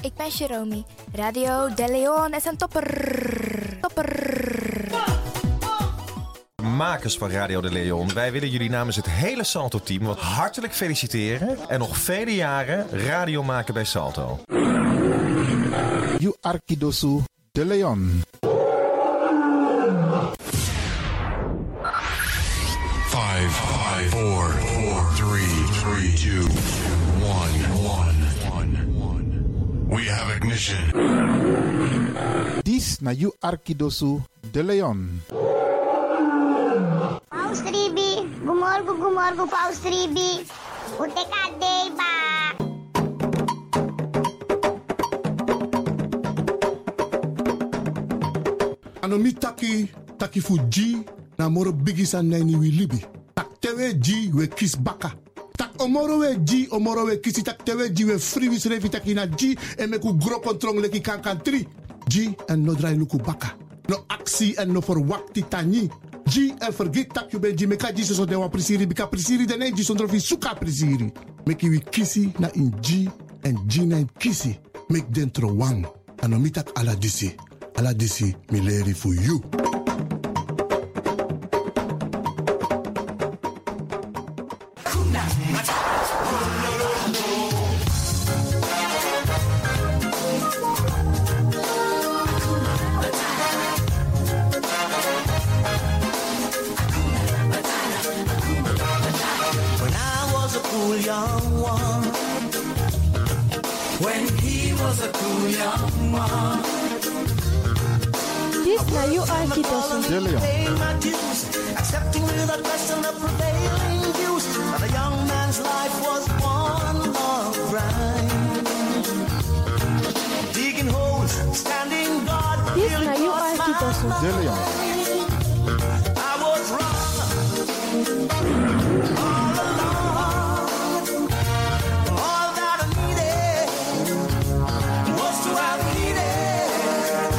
Ik ben Jerome. Radio De Leon is een topper. Topper. Makers van Radio de Leon, wij willen jullie namens het hele Salto-team wat hartelijk feliciteren. En nog vele jaren radio maken bij Salto. You Arkidosu de Leon. Five, five, four, four, three, three, two, one, one, one. We have ignition. This na You Arkidosu de Leon. Paus Ribi, gumorgo, gumorgo, Paus Ribi. O Tecadeiba. ano mi taki taki fu ji na moro bigi san nani wi libi tak tewe ji we kis baka tak omoro we ji omoro we kisi tak tewe ji we free wi srevi taki na ji e me ku gro kontrong leki kan kan tri ji en no drai luku baka no aksi en no for wakti tani ji en forget tak you be ji meka ji so de wa prisiri bika prisiri de ne ji sondro fi suka prisiri meki wi kisi na in ji en ji na in kisi make dentro wang ano mi tak ala disi Ala disi mi leri for you. When I was a cool young one. When he was a cool young one. This na you are Kitosu. De Leon. Paying my dues, accepting without question the prevailing views. But a young man's life was one long grind. Digging holes, standing guard. This feeling na you for a are smile. Kitosu. De Leon. I was wrong. All along. All that I needed was to have needed.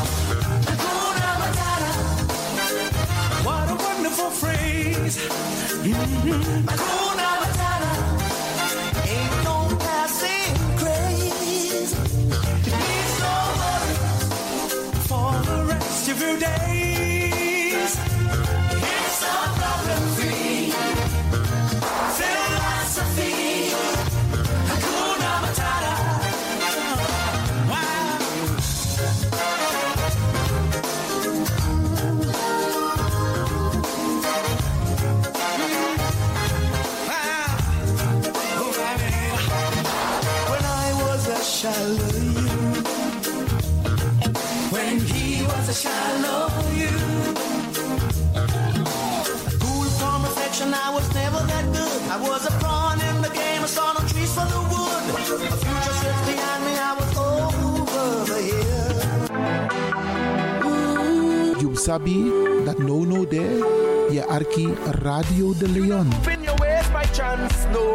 Hakuna Matata. What a wonderful phrase. Mm-hmm. Hakuna Matata. Ain't no passing craze. It's no worry for the rest of your days. It's a problem-free philosophy. Hakuna Matata. Wow. Wow. Oh, I mean, When I was a shallow you, when he was a shallow you. Cool from reflection, I was never that good. I was a pawn in the game, I saw no trees for the wood. A future sits behind me, I was over the hill. You sabi dat no no there. Je Arki Radio de Leon. In your ways by chance, no.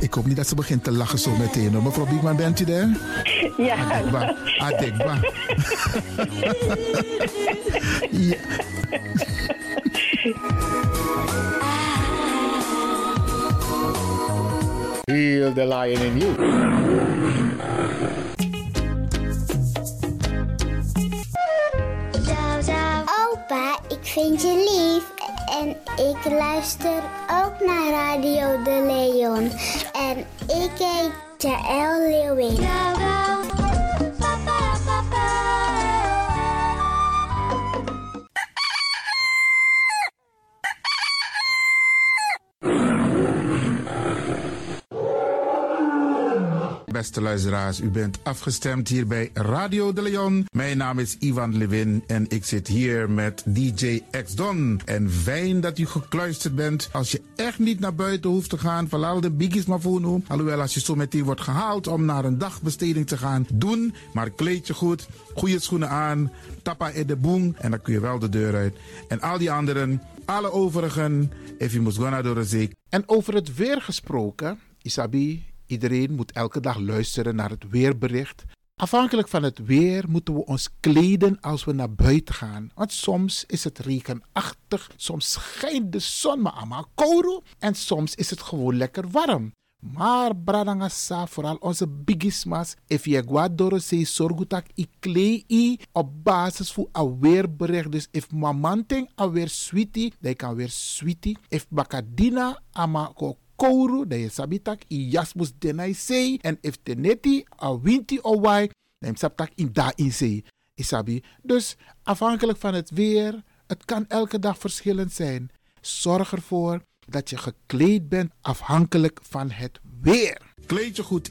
Ik hoop niet dat ze begint te lachen zo meteen. hoor. Mevrouw Biekman, bent u daar? Ja, Adekba. Adekba. ja. Heel the lion in you. Zou, zou. Opa, ik vind je lief. En ik luister ook naar Radio De Leon. En ik heet Jaël Leeuwin. Beste luisteraars, u bent afgestemd hier bij Radio de Leon. Mijn naam is Ivan Levin en ik zit hier met DJ X-Don. En fijn dat u gekluisterd bent. Als je echt niet naar buiten hoeft te gaan, verlaal de biggies maar voor nu. Alhoewel, als je zo meteen wordt gehaald om naar een dagbesteding te gaan, doen. Maar kleed je goed, goede schoenen aan, tappa in de boem en dan kun je wel de deur uit. En al die anderen, alle overigen, if you must go naar door de zee. En over het weer gesproken, Isabi, Iedereen moet elke dag luisteren naar het weerbericht. Afhankelijk van het weer moeten we ons kleden als we naar buiten gaan. Want soms is het regenachtig, soms schijnt de zon maar allemaal kouro en soms is het gewoon lekker warm. Maar bradangasa, vooral onze bigismas, if je guadoro se sorgutak i klei i op basis voor aweerbericht. Dus if mamanting aweer sweetie, dan kan weer sweetie. If bakadina ama ko kouru, dan je sabitak i jasmus denai sei. En if teneti a winti owai, dan je sabitak in da in sei. Isabi. Dus afhankelijk van het weer, het kan elke dag verschillend zijn. Zorg ervoor dat je gekleed bent afhankelijk van het weer. Kleed je goed,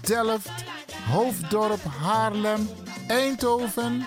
Delft, Hoofddorp, Haarlem, Eindhoven.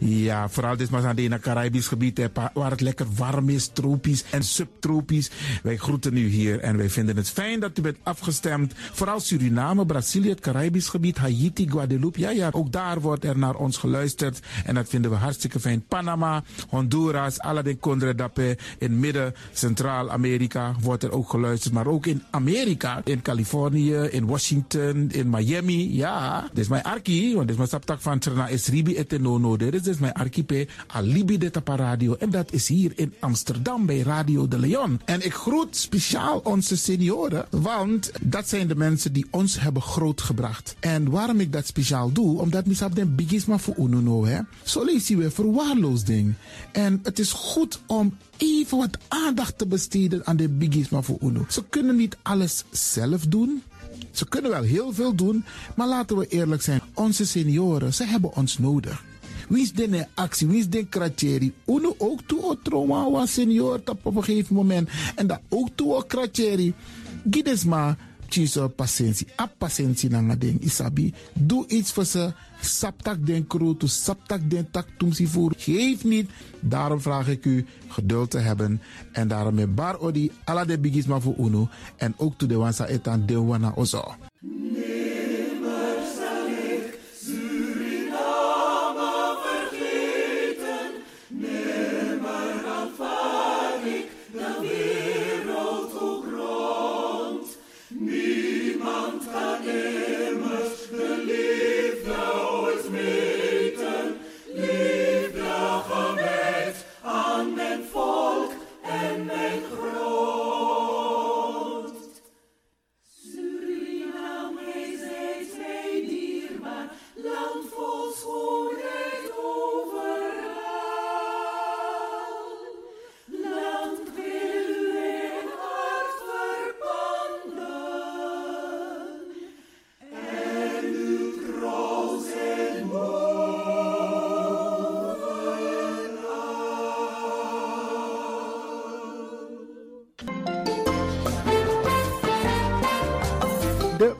Ja, vooral dit maar aan het Caribisch gebied, hè, pa- waar het lekker warm is, tropisch en subtropisch. Wij groeten u hier en wij vinden het fijn dat u bent afgestemd. Vooral Suriname, Brazilië, het Caribisch gebied, Haiti, Guadeloupe. Ja, ja, ook daar wordt er naar ons geluisterd en dat vinden we hartstikke fijn. Panama, Honduras, Aladdin Condre Dapé, in Midden, Centraal-Amerika wordt er ook geluisterd. Maar ook in Amerika, in Californië, in Washington, in Miami. Ja, dit is mijn arki, want dit is mijn saptak van Trena is Ribi et Nono. Dit is dus mijn archipel Alibi de Tapa Radio. En dat is hier in Amsterdam bij Radio de Leon. En ik groet speciaal onze senioren, want dat zijn de mensen die ons hebben grootgebracht. En waarom ik dat speciaal doe, omdat misap den bigisma voor Ununo, hè. Zo lezen we verwaarloosding. En het is goed om even wat aandacht te besteden aan de bigisma voor Uno. Ze kunnen niet alles zelf doen. Ze kunnen wel heel veel doen, maar laten we eerlijk zijn. Onze senioren, ze hebben ons nodig. Wie is de actie, wie is de kratjeri? Uno ook toe o trauma was senior tap op een gegeven moment. En dat ook toe o kratjeri. Gides maar, tjiso patiëntie. A patiëntie na nga ding, isabi. Doe iets voor ze. Saptak den kroto, saptak den tak tumsi voer. Geef niet. Daarom vraag ik u geduld te hebben. En daarom met bar odi, ala de bigisma voor uno. En ook toe de wansa etan de wana ozo. De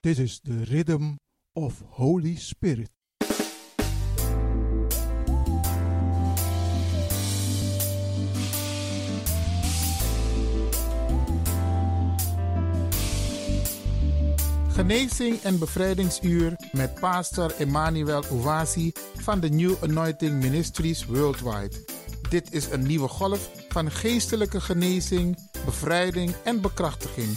Dit is de Rhythm of Holy Spirit. Genezing en Bevrijdingsuur met pastor Emmanuel Owasi van de New Anointing Ministries Worldwide. Dit is een nieuwe golf van geestelijke genezing, bevrijding en bekrachtiging.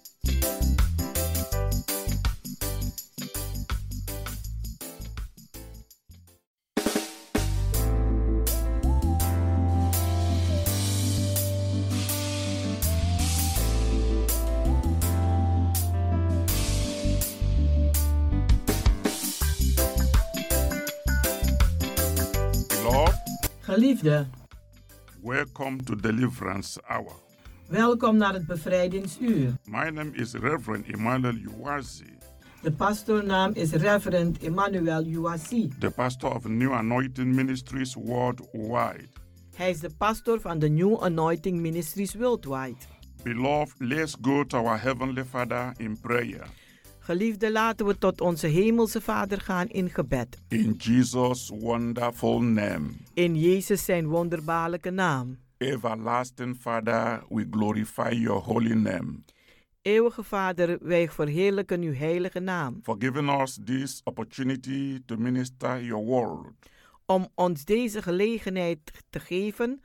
Lord, Geliefde, welcome to Deliverance Hour. welkom naar het bevrijdingsuur. My name is Reverend Emmanuel Uwazi, De pastoornaam is Reverend Emmanuel Uwasi. the pastor of New Anointing Ministries worldwide. Hij is de pastor van de New Anointing Ministries Worldwide. Beloved, let's go to our Heavenly Father in prayer. Geliefde, laten we tot onze hemelse Vader gaan in gebed. In Jesus' wonderful name, In Jezus zijn wonderbaarlijke naam. everlasting Father, we glorify your holy name Eeuwige Vader, wij verheerlijken uw heilige naam. for giving us this opportunity to minister your word. Om ons deze gelegenheid te geven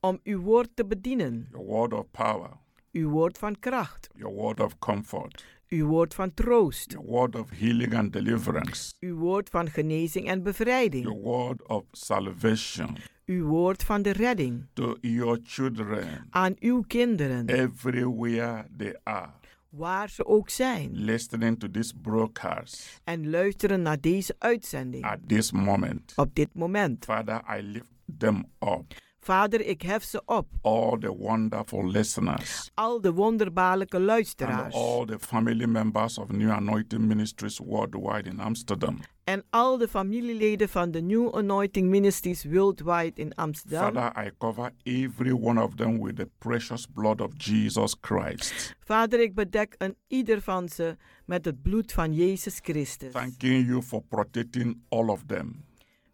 om uw woord te bedienen. Your word of power, Uw woord van kracht, your word of comfort, uw woord van troost, your word of healing and deliverance, uw woord van genezing en bevrijding. your word of salvation uw woord van de redding to your children aan uw kinderen, everywhere they are waar ze ook zijn, listening to this broadcast en luisteren naar deze uitzending at this moment. op dit moment. Father, I lift them up, Vader, ik hef ze op, all the wonderful listeners. al de wonderbaarlijke And luisteraars all the family members of New Anointing Ministries worldwide in Amsterdam. en al de familieleden van de New Anointing Ministries Worldwide in Amsterdam. Father, I cover every one of them with the precious blood of Jesus Christ. Vader, ik bedek een ieder van ze met het bloed van Jezus Christus. Thanking you for protecting all of them.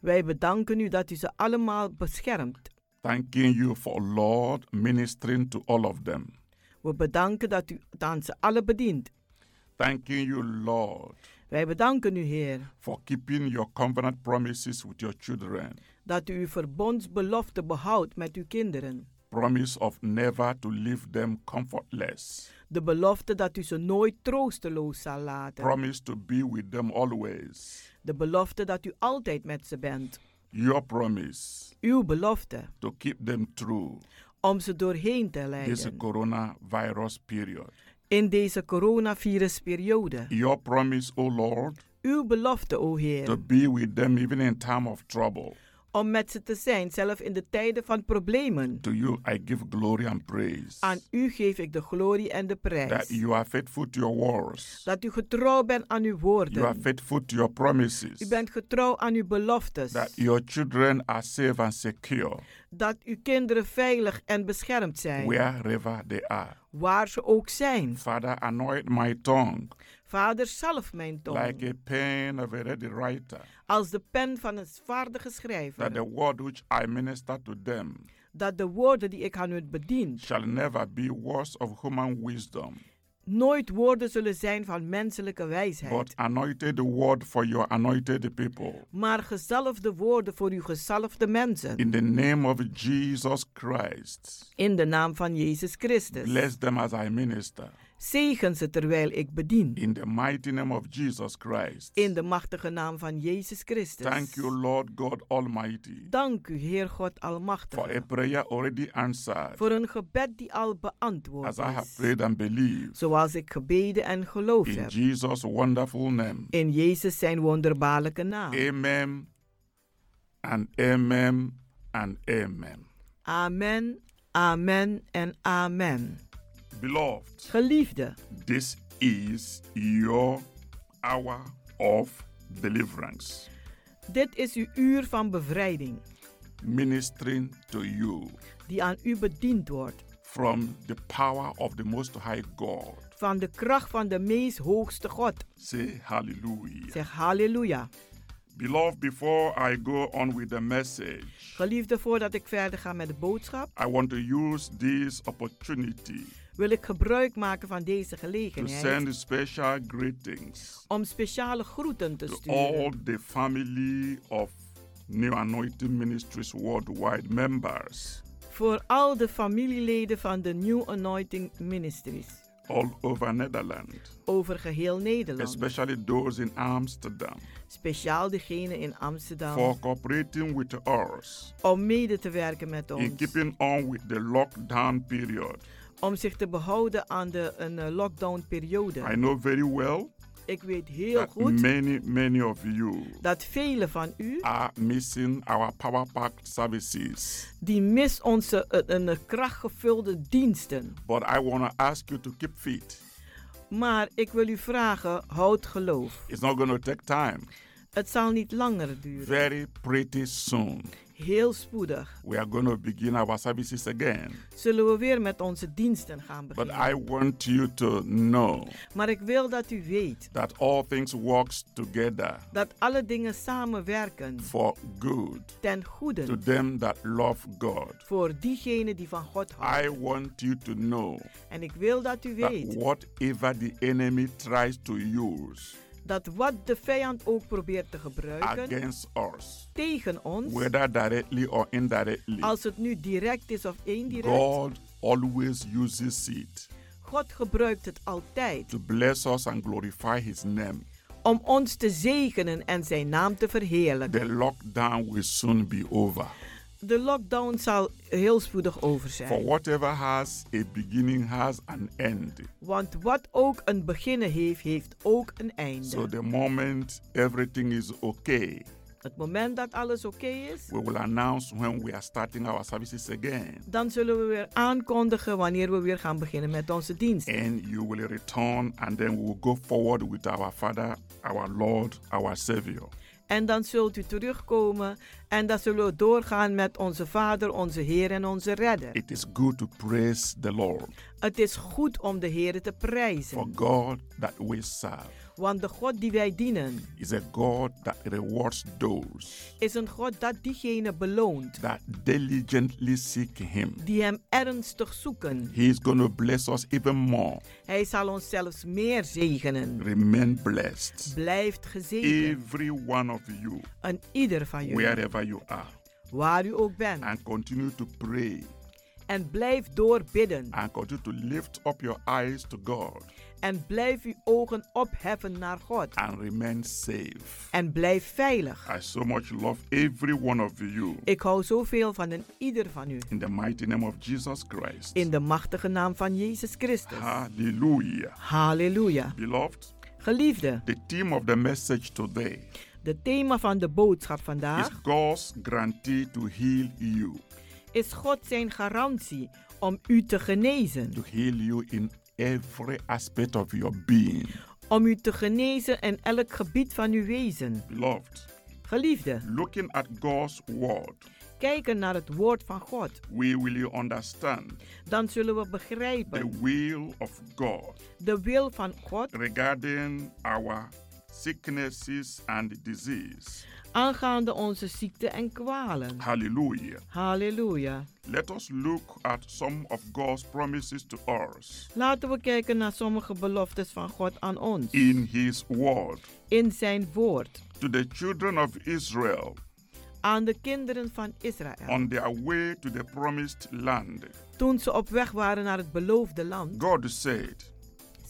Wij bedanken u dat u ze allemaal beschermt. Thanking you for, Lord, ministering to all of them. We bedanken dat u het aan ze allen bedient. Thanking you, Lord, Wij bedanken u, Heer. for keeping your covenant promises with your children. dat u uw verbondsbelofte behoudt met uw kinderen. Promise of never to leave them comfortless. De belofte dat u ze nooit troosteloos zal laten. Promise to be with them always. De belofte dat u altijd met ze bent. Your promise Uw belofte to keep them through om ze doorheen te this leiden coronavirus period. in deze coronavirusperiode. Your promise, O Lord, Uw belofte, o to Heer, be with them even in time of trouble. om met ze te zijn, zelf in de tijden van problemen. To you I give glory and praise. Aan u geef ik de glorie en de That prijs. you are faithful to your words. Dat u getrouw bent aan uw You are woorden. faithful to your promises. U bent getrouw aan uw beloftes. That your children are safe and secure Dat uw kinderen veilig en beschermd zijn. wherever they are. waar ze ook zijn. Father, anoint my tongue Vader, zalf mijn like tong a pen of a ready writer, als de pen van een vaardige that the schrijver, word which I minister to them dat de woorden die ik aan u bedien shall never be words of human wisdom, nooit woorden zullen zijn van menselijke but wijsheid, anointed word for your anointed people. maar gezalfde woorden voor uw gezalfde mensen. In the name of Jesus Christ, In de naam van Jezus Christus. bless them as I minister. Zegen ze terwijl ik bedien. In the mighty name of Jesus Christ. In de machtige naam van Jezus Christus. Thank you, Lord God Almighty, Dank u, Heer God for a Almachtige, prayer already answered. voor een gebed die al beantwoord As I have is. prayed and believed, Zoals ik gebeden en geloofd in heb. Jesus' wonderful name. In Jezus zijn wonderbaarlijke naam. Amen and amen and amen. Amen, amen en amen. Beloved, Geliefde, this is your hour of deliverance, dit is uw uur van bevrijding ministering to you die aan u bediend wordt from the power of the Most High God van de kracht van de meest hoogste God. Say hallelujah. Zeg halleluja. Beloved, before I go on with the message, Geliefde, voordat ik verder ga met de boodschap, I want to use this opportunity wil ik gebruik maken van deze to send gelegenheid special greetings om speciale groeten te to sturen all the family of New Anointing Ministries worldwide members voor al de familieleden van de New Anointing Ministries all over Netherlands, over geheel Nederland. especially those in Amsterdam, Speciaal degene in for Amsterdam cooperating with us om mede te werken met in ons, keeping on with the lockdown period. om zich te behouden aan de een eh, I lockdown-periode. know very well Ik weet heel that goed many, many of you dat velen van u are missing our power packed services. die mis onze eh, een eh, krachtgevulde diensten. But I want to ask you to keep fit. Maar ik wil u vragen, houd geloof. It's not going to take time. Het zal niet langer duren. Very pretty soon, Heel spoedig we are going to begin our services again. zullen we weer met onze diensten gaan But beginnen. I want you to know Maar ik wil dat u weet that all things works together dat alle dingen samenwerken for good ten to goede them that love God. voor diegenen die van God houden. I want you to know En ik wil dat u that weet whatever the enemy tries to use dat wat de vijand ook probeert te gebruiken against us, tegen ons, whether directly or indirectly, als het nu direct is of indirect, God always uses it God gebruikt het altijd to bless us and glorify His name. om ons te zegenen en zijn naam te The verheerlijken. lockdown will soon be over. De lockdown zal heel spoedig For over zijn. whatever has a beginning has an end. Want wat ook een beginnen heeft, heeft ook een So einde. the moment everything is okay, Het moment dat alles oké is, we will announce when we are starting our services again. dan zullen we weer aankondigen wanneer we weer gaan beginnen met onze dienst. And you will return, and then we will go forward with our Father, our Lord, our Savior. En dan zult u terugkomen en dan zullen we doorgaan met onze Vader, onze Heer en onze Redder. It is good to praise the Lord Het is goed om de Heer te for prijzen, God that we serve. want de God die wij dienen is a God that rewards those is een God dat diegene beloont that diligently seek Him. die Hem ernstig zoeken. He is going to bless us even more. Hij zal ons zelfs meer zegenen. Remain blessed. Blijft gezegend, Every one of you, een ieder van jullie, wherever you are, waar u ook bent. and continue to pray En blijf doorbidden. and continue to lift up your eyes to God En blijf uw ogen opheffen naar God. and remain safe. En blijf veilig. I so much love every one of you Ik hou zoveel van een ieder van u. in the mighty name of Jesus Christ. In de machtige naam van Jezus Christus. Hallelujah. Halleluja. Beloved, Geliefde, the theme of the message today de thema van de boodschap is vandaag God's guarantee to heal you, is God zijn garantie om u te genezen. to heal you in every aspect of your being. Om u te genezen in elk gebied van uw wezen. Beloved, Geliefde, looking at God's word, kijken naar het woord van God. we will understand Dan zullen we the begrijpen will of God de wil van God regarding our sicknesses and disease. aangaande onze ziekte en kwalen. Hallelujah. Halleluja. Let us look at some of God's promises to us Laten we kijken naar sommige beloftes van God aan ons. in His word. In zijn woord. To the children of Israel Aan de kinderen van Israël. on their way to the promised land, Toen ze op weg waren naar het beloofde land, God said,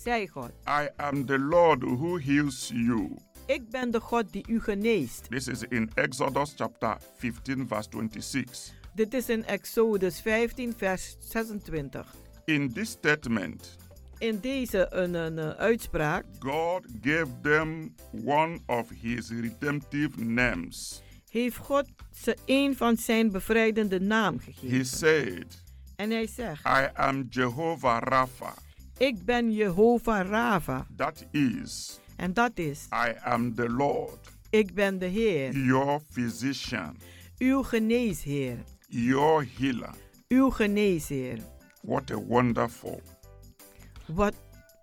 zei God: I am the Lord who heals you. Ik ben de God die u geneest. This is in Exodus chapter 15, verse 26. Dit is in Exodus 15, vers 26. In this statement, In deze een, een, eh, uitspraak God gave them one of his redemptive names. heeft God ze een van zijn bevrijdende naam gegeven. He said, En hij zegt: I am Jehovah Rapha. Ik ben Jehovah Rava. That is, En dat is: I am the Lord, Ik ben de Heer, your physician, uw geneesheer, your healer. uw geneesheer. What a wonderful Wat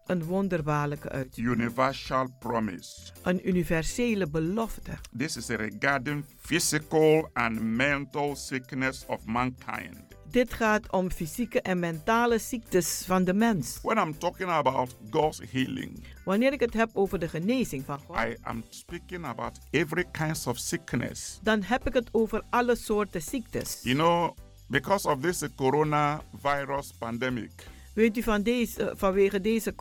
een wonderbaarlijke uit. Universal promise. Een universele belofte. This is regarding physical and mental sickness of mankind. Dit gaat om fysieke en mentale ziektes van de mens. When I'm talking about God's healing, Wanneer ik het heb over de genezing van God, I am speaking about every kinds of sickness. dan heb ik het over alle soorten ziektes. You know, because of this coronavirus pandemic, Weet u van deze, eh, vanwege deze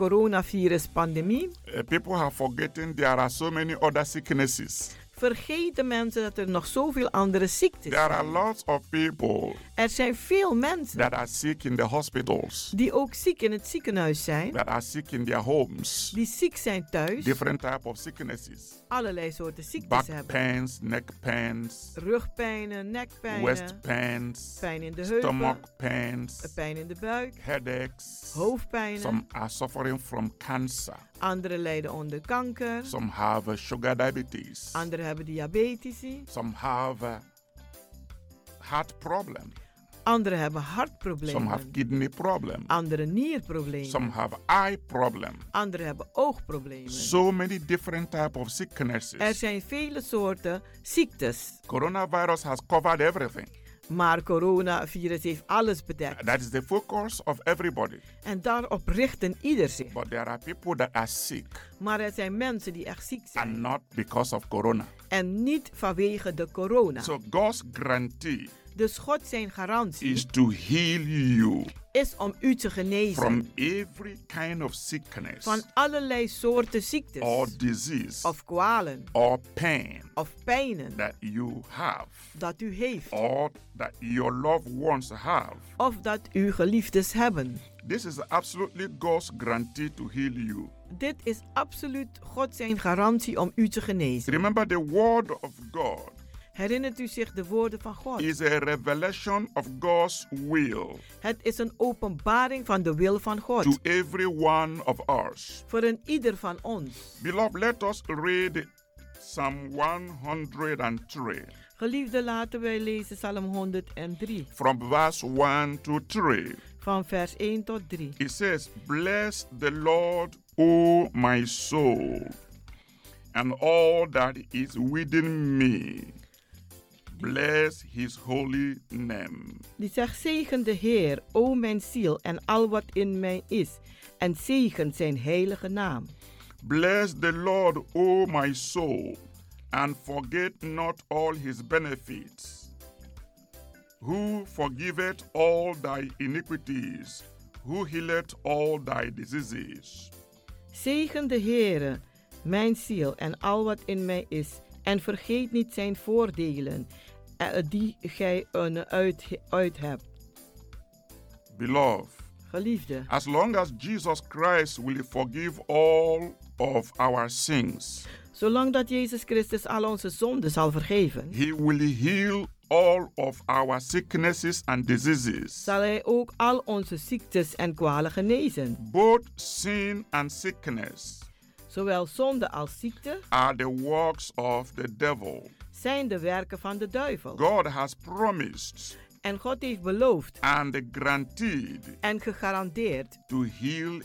coronavirus-pandemie uh, people have forgotten there are so many other sicknesses. vergeten mensen dat er nog zoveel andere ziektes There are zijn. lots of people Er zijn veel mensen that are sick in the hospitals, die ook ziek in het ziekenhuis zijn, that are sick in their homes. die ziek zijn thuis, Different type of sicknesses. allerlei soorten ziektes Back hebben. pains, neck pains, Rugpijnen, nekpijnen, waist pains, pijn in de stomach heupen, pains, pijn in de buik, headaches. Some hoofdpijnen. are suffering from cancer. Anderen lijden onder kanker, Some have uh, sugar diabetes. anderen hebben diabetici, Some have uh, heart problem. anderen hebben Some have hartproblemen, kidney problem. anderen nierproblemen, Some have eye problem. anderen hebben oogproblemen. So many different type of Er sicknesses. zijn vele soorten ziektes, Coronavirus has covered everything. maar coronavirus heeft alles bedekt. That is the focus of everybody. En daarop richten ieder zich. But there are people that are sick Maar er zijn mensen die echt ziek zijn. and not because of corona. En niet vanwege de corona. So God's guarantee Dus God zijn garantie is to heal you is om u te genezen from every kind of sickness van allerlei soorten or ziektes disease of kwalen or pain of pijnen that you have dat u heeft or that your loved ones have. of dat uw geliefdes hebben. This is absolutely God's guarantee to heal you. Dit is absoluut God zijn garantie om u te genezen. Remember, the word of God Herinnert u zich de woorden van God? is a revelation of God's will Het is een openbaring van de wil van God to every one of us. voor een ieder van ons. Beloved, let us read Psalm 103 Geliefde, laten wij lezen Psalm 103 from verse 1 to 3. van vers 1 tot 3. It says, Bless the Lord, O my soul, and all that is within me. Bless his holy name. Die zegt, zegen de Heer, o mijn ziel en al wat in mij is. En zegen zijn heilige naam. Bless the Lord, O my soul, and forget not all his benefits. Who forgiveth all thy iniquities, who healeth all thy diseases. Zegen de Heere, mijn ziel en al wat in mij is, en vergeet niet zijn voordelen, eh, die gij een uit, uit hebt. Beloved, Geliefde, as long as Jesus Christ will forgive all of our sins, zolang dat Jezus Christus al onze zonden zal vergeven, he will heal all of our sicknesses and diseases. zal hij ook al onze ziektes en kwalen genezen. Both sin and sickness Zowel zonde als ziekte are the works of the devil. zijn de werken van de duivel. God has promised En God heeft beloofd and guaranteed en gegarandeerd to heal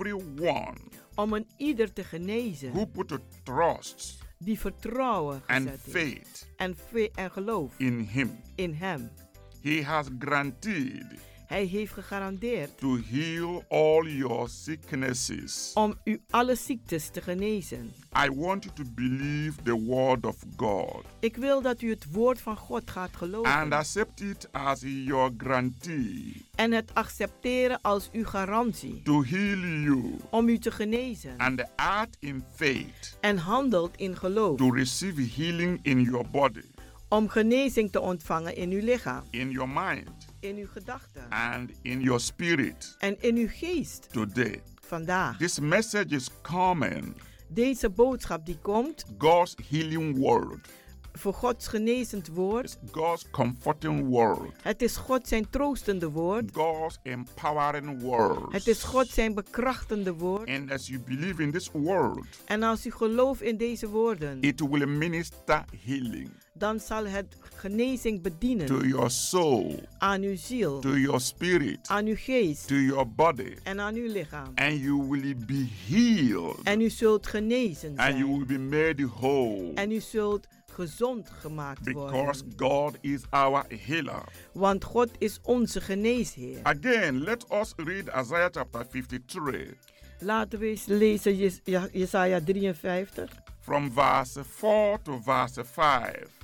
everyone om een ieder te genezen who put a trust die vertrouwen and gezet heeft faith en, ve- en geloof in Him. in hem. He has guaranteed Hij heeft gegarandeerd to heal all your sicknesses. om u alle ziektes te genezen. I want you to believe the word of God Ik wil dat u het woord van God gaat and geloven accept it as your guarantee en het accepteren als uw garantie to heal you om u te genezen. and act in faith En handelt in geloof to receive healing in your body, om genezing te ontvangen in uw lichaam, in your mind, in uw gedachten and in your spirit en in uw geest today. vandaag. This message is coming Deze boodschap die komt, God's healing word voor Gods genezend woord. God's comforting word. Het is God zijn troostende woord. God's empowering word. Het is God zijn bekrachtende woord. And as you believe in this word, En als u gelooft in deze woorden, it will minister healing dan zal het genezing bedienen to your soul, aan uw ziel, to your spirit, aan uw geest to your body, en aan uw lichaam. and you will be healed. En u zult genezen And you will zijn. be made whole. En u zult gezond gemaakt Because worden. God is our healer. Want God is onze geneesheer. Again, let us read Isaiah chapter 53 Laten we eens lezen Jes- Ja- Jesaja 53, from verse 4 to verse 5.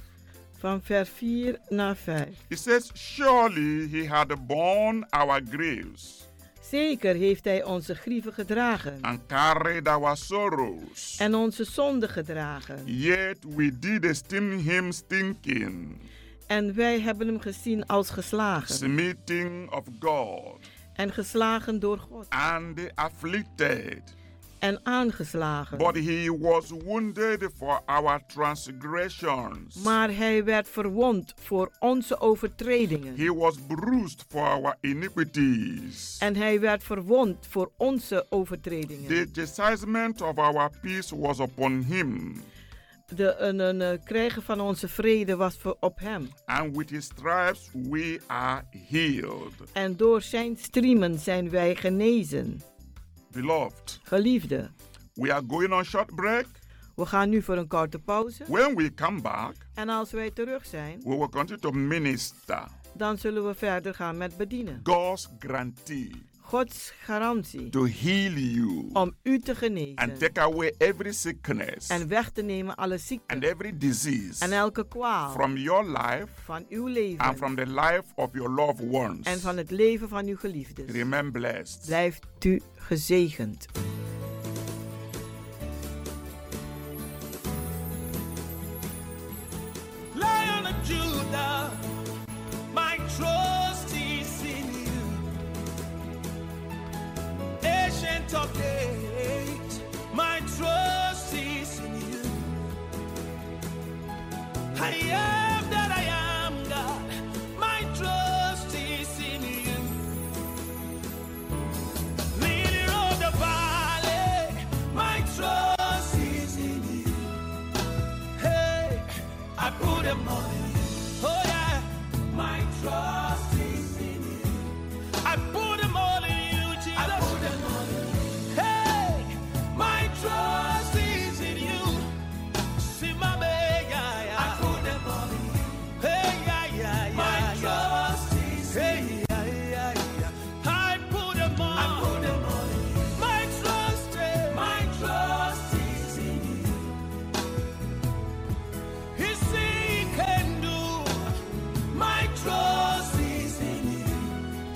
van vers 4 naar 5. It says, Surely he had borne our graves Zeker heeft hij onze grieven gedragen and carried our sorrows, en onze zonden gedragen. yet we did esteem him stinking, En wij hebben hem gezien als geslagen smiting of God, en geslagen door God and afflicted. en aangeslagen. But he was wounded for our transgressions. Maar hij werd verwond voor onze overtredingen. He was bruised for our iniquities. En hij werd verwond voor onze overtredingen. The chastisement of our peace was upon him, De een, een, eh, krijgen van onze vrede was voor op hem. and with his stripes we are healed. En door zijn striemen zijn wij genezen. Beloved, Geliefde, we are going on short break. we gaan nu voor een korte pauze. When we come back, En als wij terug zijn, we will continue to minister dan zullen we verder gaan met bedienen. God's grantee Gods garantie to heal you om u te and genezen take away every sickness en weg te nemen alle ziekte and every disease en elke kwaal from your life van uw and leven from the life of your loved ones. en van het leven van uw geliefden. Remain blessed. Blijft u gezegend. Lion of Judah, my trust is in you. Ancient of days, my trust is in you. I am that I am, God, my trust is in you. Leader of the valley, my trust is in you. Hey, I put them on you. Oh yeah, my trust is in you. I put them all in you, Jesus. I put them all in you. Hey, my trust is in you. See my baby, yeah, yeah. I put them all in you. Hey, yeah, yeah, yeah. My trust is hey, in you. Yeah, yeah, yeah. I put them all. I put them all in you. My trust, eh, my trust is in you. He see can do. My trust is in Him.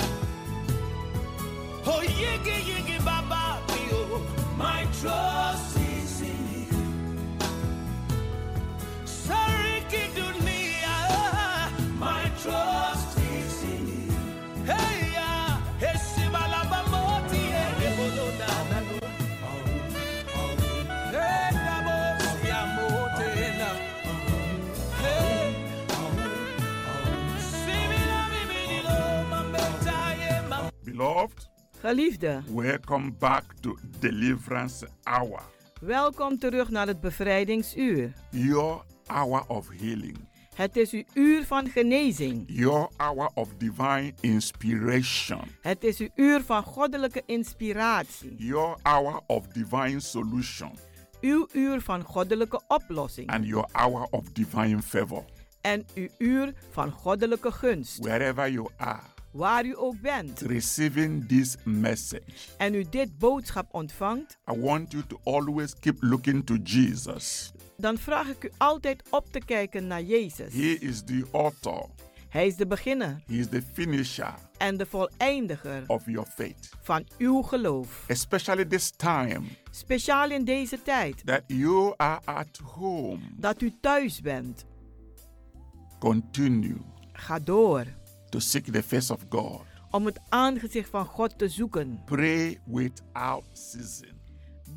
Oh yigi yigi baba pio. My trust is in Him. Sorry kidunia. My trust is in Him. Hey ya, esibalaba moti elebodona. Hey, double, see, I'm motel now. Beloved, Geliefde, welcome back to Deliverance Hour, welkom terug naar het bevrijdingsuur. your hour of healing, Het is uw uur van genezing. your hour of divine inspiration. Het is uw uur van goddelijke inspiratie. your hour of divine solution Uw uur van goddelijke oplossing. and your hour of divine favor. En uw uur van goddelijke gunst. Wherever you are, Waar u ook bent receiving this message, en u dit boodschap ontvangt, I want you to always keep looking to Jesus. dan vraag ik u altijd op te kijken naar Jezus. He is the author, Hij is de beginner He is the finisher en de voleindiger of your faith. van uw geloof. Especially this time Speciaal in deze tijd that you are at home, dat u thuis bent. continue Ga door to seek the face of God. om het aangezicht van God te zoeken. Pray without ceasing.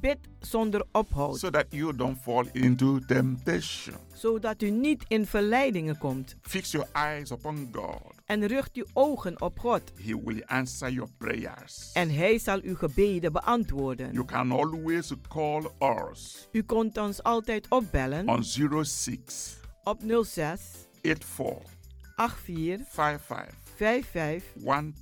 Bid zonder ophoud, so that you don't fall into temptation. zodat u niet in verleidingen komt. Fix your eyes upon God. En richt uw ogen op God, He will answer your prayers. en Hij zal uw gebeden You beantwoorden. can always call us U kunt ons altijd opbellen on 06 op 06 84 84 55 55 13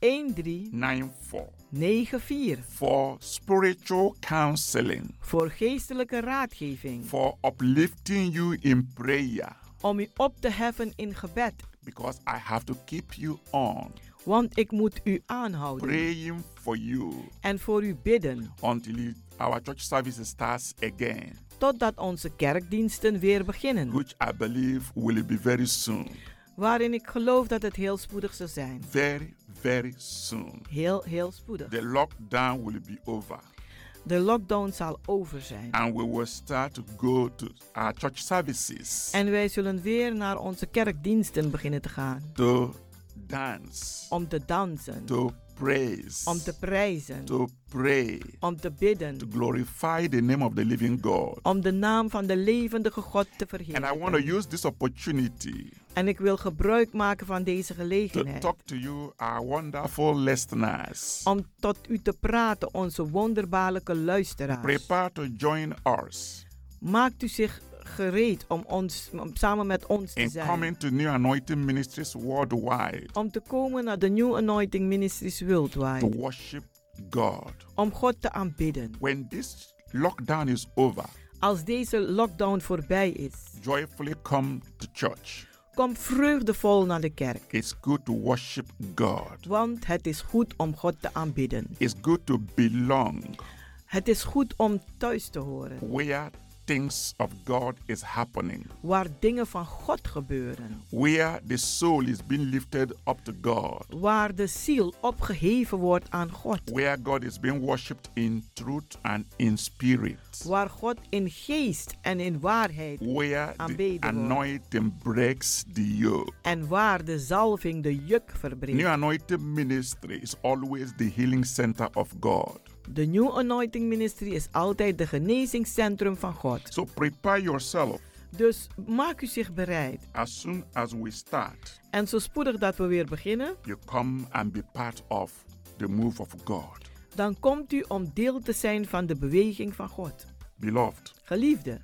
13 94 94 for spiritual counseling, voor geestelijke raadgeving, for uplifting you in prayer, om u op te heffen in gebed, because I have to keep you on want ik moet u aanhouden praying for you en voor u bidden, until you- our church service starts again, totdat onze kerkdiensten weer beginnen, which I believe will be very soon. waarin ik geloof dat het heel spoedig zal zijn. Very, very soon. Heel, heel spoedig. The lockdown will be over De lockdown zal over zijn. and we will start to go to our church services En wij zullen weer naar onze kerkdiensten beginnen te gaan. to dance, Om te dansen, to praise, om te prijzen, to pray, om te bidden, to glorify the name of the living God. om de naam van de levendige God te And I want to verheerlijken. use this opportunity En ik wil gebruik maken van deze to gelegenheid talk to you, our wonderful listeners. om tot u te praten, onze wonderbaarlijke luisteraars. Prepare to join us Maakt u zich gereed om, ons, om samen met ons te in zijn. coming to New Anointing Ministries worldwide Om te komen naar de New Anointing Ministries to Worldwide. worship God. Om God te aanbidden. When this lockdown is over, Als deze lockdown voorbij is, joyfully come to church. kom vreugdevol naar de kerk. It's good to worship God. Want het is goed om God te aanbidden. It's good to belong Het is goed om thuis te horen, where things of God is happening, waar dingen van God gebeuren. where the soul is being lifted up to God, Waar de ziel opgeheven wordt aan God. where God is being worshipped in truth and in spirit, Waar God in geest en in waarheid where the aanbeden wordt. anointing breaks the yoke. En waar de zalving de juk New verbreekt. anointing ministry is always the healing center of God. De New Anointing Ministry is altijd de genezingscentrum van God. So prepare yourself Dus maak u zich bereid. as soon as we start. En zo spoedig dat we weer beginnen, You come and be part of the move of God. dan komt u om deel te zijn van de beweging van God. Beloved, Geliefde,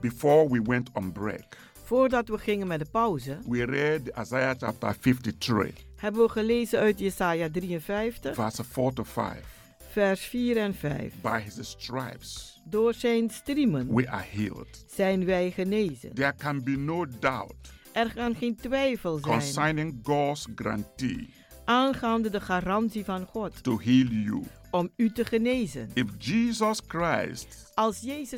before we went on break, voordat we gingen met de pauze, we read Isaiah chapter 53, hebben we gelezen uit Jesaja 53, verse 4 to 5. vers 4 en 5. By his stripes Door zijn striemen we are healed. zijn wij genezen. There can be no doubt Er kan geen twijfel zijn concerning God's guarantee aangaande de garantie van God to heal you. om u te genezen. If Jesus Christ Als Jezus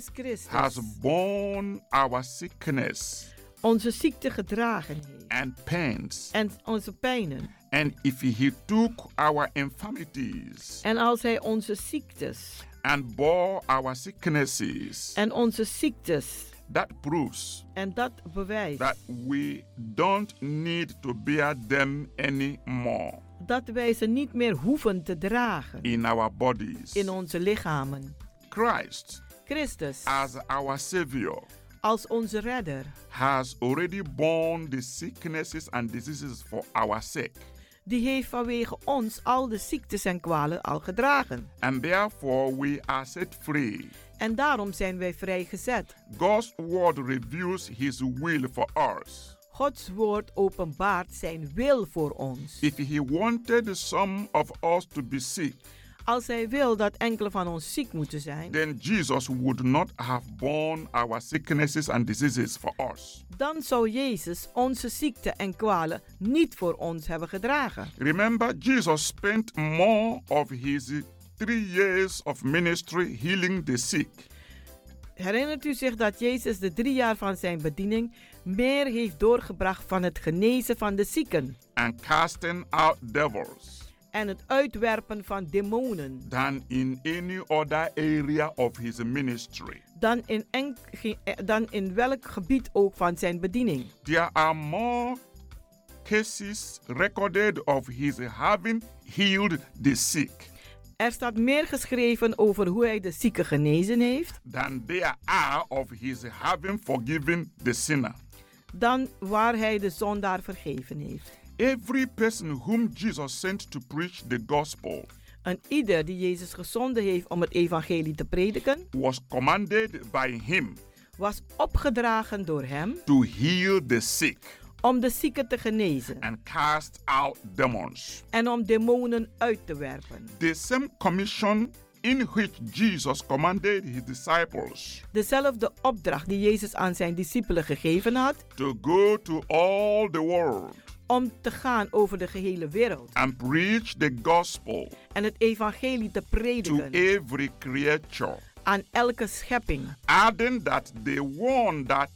has Christus borne our sickness onze ziekte gedragen heeft and pains, en onze pijnen, and if he took our infirmities en als Hij onze ziektes and bore our sicknesses, en onze ziektes, that proves en dat bewijst that we don't need to bear them anymore dat wij ze niet meer hoeven te dragen in our bodies. in onze lichamen. Christ, Christus, as our Savior, als onze redder, has already borne the sicknesses and diseases for our sake. die heeft vanwege ons al de ziektes en kwalen al gedragen. And therefore, we are set free. En daarom zijn wij vrijgezet. God's word reveals His will for us. Gods woord openbaart zijn wil voor ons. If He wanted some of us to be sick, Als hij wil dat enkele van ons ziek moeten zijn, then Jesus would not have borne our sicknesses and diseases for us. dan zou Jezus onze ziekte en kwalen niet voor ons hebben gedragen. Remember, Jesus spent more of his three years of ministry healing the sick. Herinnert u zich dat Jezus de drie jaar van zijn bediening meer heeft doorgebracht van het genezen van de zieken and casting out devils en het uitwerpen van demonen? than in any other area of his ministry. dan in, enk- ge- eh, dan in welk gebied ook van zijn bediening. There are more cases recorded of his having healed the sick Er staat meer geschreven over hoe hij de zieke genezen heeft than there are of his having forgiven the sinner. dan waar hij de zondaar vergeven heeft. Every person whom Jesus sent to preach the gospel En ieder die Jezus gezonden heeft om het evangelie te prediken, was commanded by him was opgedragen door hem to heal the sick om de zieken te genezen and cast out demons. en om demonen uit te werpen. The same commission in which Jesus commanded his disciples Dezelfde opdracht die Jezus aan zijn discipelen gegeven had to go to all the world om te gaan over de gehele wereld and preach the gospel en het evangelie te to prediken every creature, aan elke schepping adding that the one that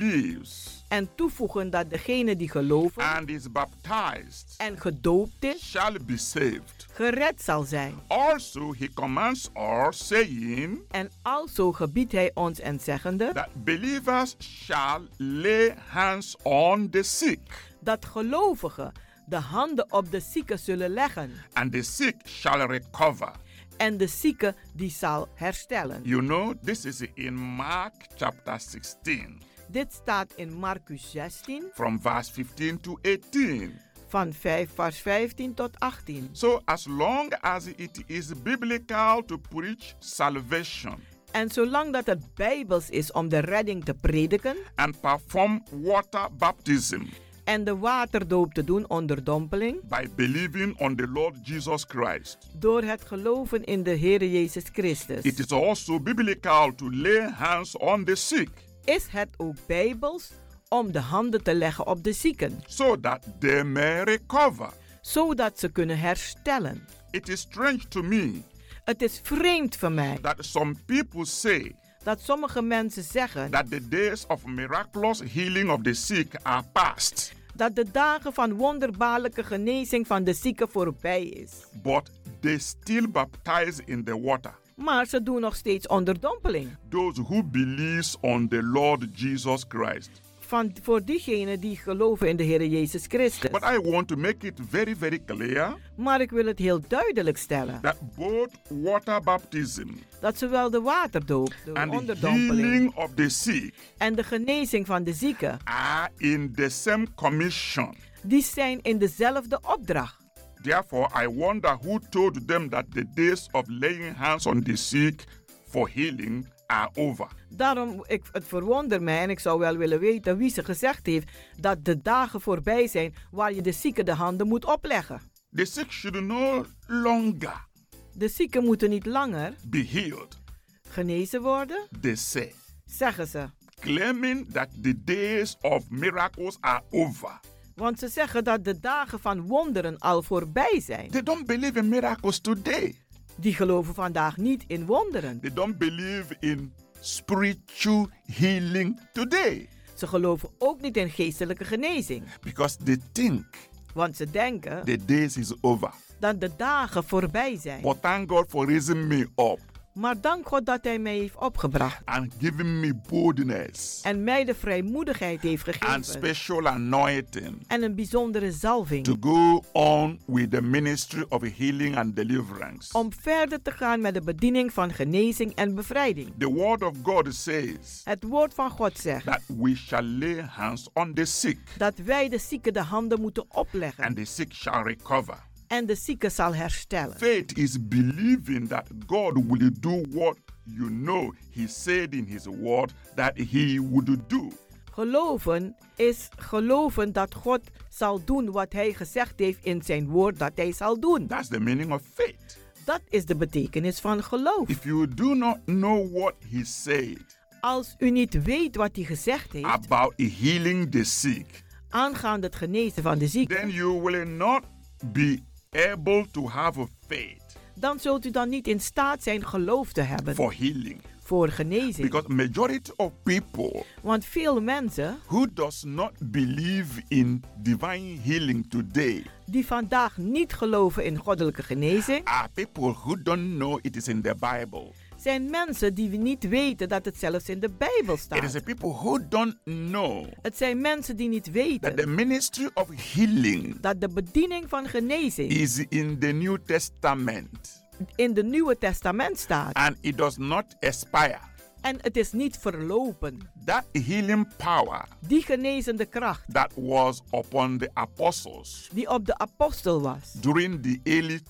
believes en toevoegen dat degene die geloven and is baptized en gedoopt is, shall be saved. gered zal zijn. Also, he commands us, saying En alzo gebiedt hij ons en zeggende that believers shall lay hands on the sick, dat gelovigen de handen op de zieken zullen leggen and the sick shall recover. en de zieke die zal herstellen. You know, this is in Mark chapter 16, Dit staat in Marcus 16 from verse 15 to 18. van 5 vers 15 tot 18. So, as long as it is biblical to preach salvation En zolang dat het bijbels is om de redding te prediken and perform water baptism en de waterdoop te doen onder dompeling, by believing on the Lord Jesus Christ, door het geloven in de Heere Jezus Christus, it is also biblical to lay hands on the sick is het ook bijbels om de handen te leggen op de zieken, so that they may recover. zodat ze kunnen herstellen. It is strange to me Het is vreemd voor mij that some people say dat sommige mensen zeggen that the days of miraculous healing of the sick are past, dat de dagen van wonderbaarlijke genezing van de zieken voorbij is. but they still baptize in the water. Maar ze doen nog steeds onderdompeling. Those who believes on the Lord Jesus Christ. Van, voor diegenen die geloven in de Heer Jezus Christus. But I want to make it very, very clear Maar ik wil het heel duidelijk stellen that both water baptism dat zowel de waterdoop, de and the onderdompeling healing of the sick en de genezing van de zieken, are in the same commission. die zijn in dezelfde opdracht. Therefore, I wonder who told them that the days of laying hands on the sick for healing are over. Daarom, ik, het verwonder mij en ik zou wel willen weten wie ze gezegd heeft dat de dagen voorbij zijn waar je de zieken de handen moet opleggen. The sick should no longer De zieken moeten niet langer be healed, genezen worden, they say, zeggen ze. claiming that the days of miracles are over. Want ze zeggen dat de dagen van wonderen al voorbij zijn. They don't believe in miracles today. Die geloven vandaag niet in wonderen. They don't believe in spiritual healing today Ze geloven ook niet in geestelijke genezing. because they think Want ze denken the days is over. dat de dagen voorbij zijn. But thank God for raising me up Maar dank God dat Hij mij heeft opgebracht. and giving me boldness En mij de vrijmoedigheid heeft and gegeven. special anointing En een bijzondere to zalving. go on with the ministry of healing and deliverance. Om verder te gaan met de bediening van genezing en bevrijding. The word of God says Het woord van God zegt that we shall lay hands on the sick dat wij de zieken de handen moeten and opleggen. the sick shall recover. En de zieke zal herstellen. Faith is believing that God will do what you know He said in His word that He would do. Geloven is geloven dat God zal doen wat hij gezegd heeft in zijn woord dat hij zal doen. That's the meaning of faith. Dat is de betekenis van geloof. If you do not know what He said Als u niet weet wat hij gezegd heeft about healing the sick, aangaande het genezen van de ziekte, then you will not be able to have a faith dan zult u dan niet in staat zijn geloof te hebben for healing voor genezing. because majority of people Want veel mensen who does not believe in divine healing today die vandaag niet geloven in goddelijke genezing, are Ah, people who don't know it is in the bible zijn mensen die niet weten dat het zelfs in de Bijbel It is staat. the people who don't know Het zijn mensen die niet that the weten ministry of healing dat de bediening van genezing is in the New Testament in de Nieuwe Testament staat. and it does not expire. En het is niet verlopen. That healing power Die genezende kracht that was upon the apostles die op de apostel was during the early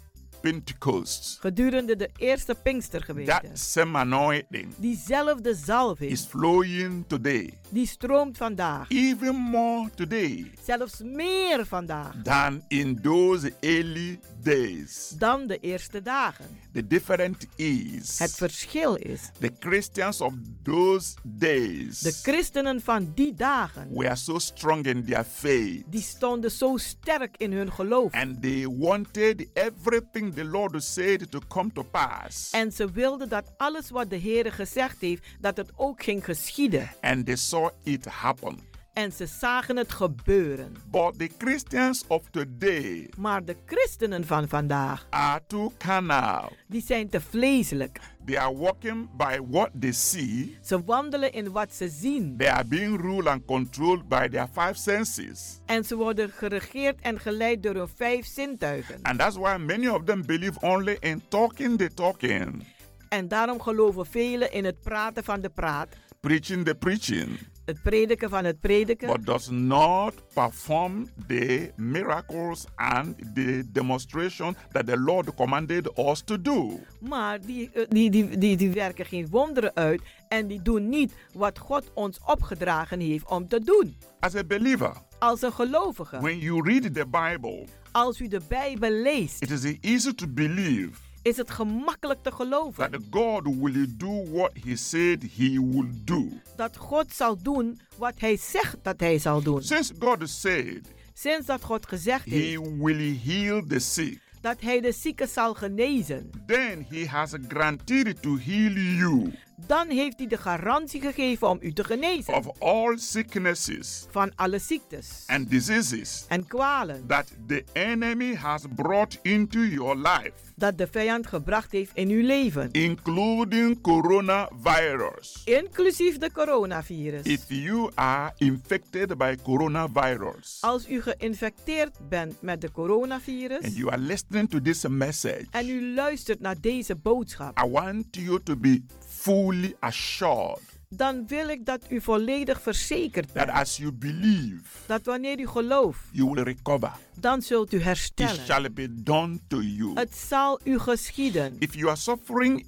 Pentecost, gedurende de eerste that Pinkstergemeente. same anointing Diezelfde is zalving flowing today, die stroomt vandaag. even more today Zelfs meer vandaag than in those early days. dan de eerste dagen. The difference is Het verschil is, the Christians of those days de christenen van die dagen, were so strong in their faith die stonden zo sterk in hun geloof. and they wanted everything the Lord said to come to pass. En ze wilden dat alles wat de Heer gezegd heeft, dat het ook ging geschieden. and they saw it happen. En ze zagen het gebeuren. But the Christians of today Maar de christenen van vandaag, are too carnal. die zijn te vleeselijk. They are walking by what they see. Ze wandelen in wat ze zien. They are being ruled and controlled by their five senses. En ze worden geregeerd en geleid door hun vijf zintuigen. And that's why many of them believe only in talking the talking, En daarom geloven velen in het praten van de praat, preaching the preaching, het prediken van het prediken, but does not perform the miracles and the demonstration that the Lord commanded us to do. maar die, eh, die, die, die, die werken geen wonderen uit en die doen niet wat God ons opgedragen heeft om te doen. As a believer, Als een gelovige, when you read the Bible, als u de Bijbel leest, it is easy to believe is het gemakkelijk te geloven that God will do what He said He would do. dat God zal doen wat Hij zegt dat Hij zal doen. Since God said Sinds dat God gezegd He heeft will heal the sick, dat Hij de zieke zal genezen, then He has guaranteed to heal you dan heeft Hij de garantie gegeven om u te genezen of all sicknesses van alle ziektes and diseases en kwalen that the enemy has brought into your life, dat de vijand gebracht heeft in uw leven, including coronavirus. inclusief de coronavirus. If you are infected by coronavirus Als u geïnfecteerd bent met de and coronavirus you are listening to this message, en u luistert naar deze boodschap, I want you to be fully assured dan wil ik dat u volledig verzekerd that bent as you believe, dat wanneer u gelooft, you will recover. dan zult u It herstellen. shall be done to you. Het zal u geschieden. If you are suffering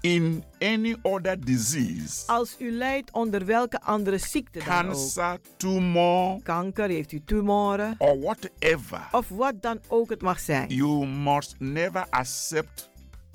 in any other disease, Als u lijdt onder welke andere ziekte dan ook, cancer, tumor, kanker, heeft u tumoren, or whatever, of wat dan ook het mag zijn. you must never accept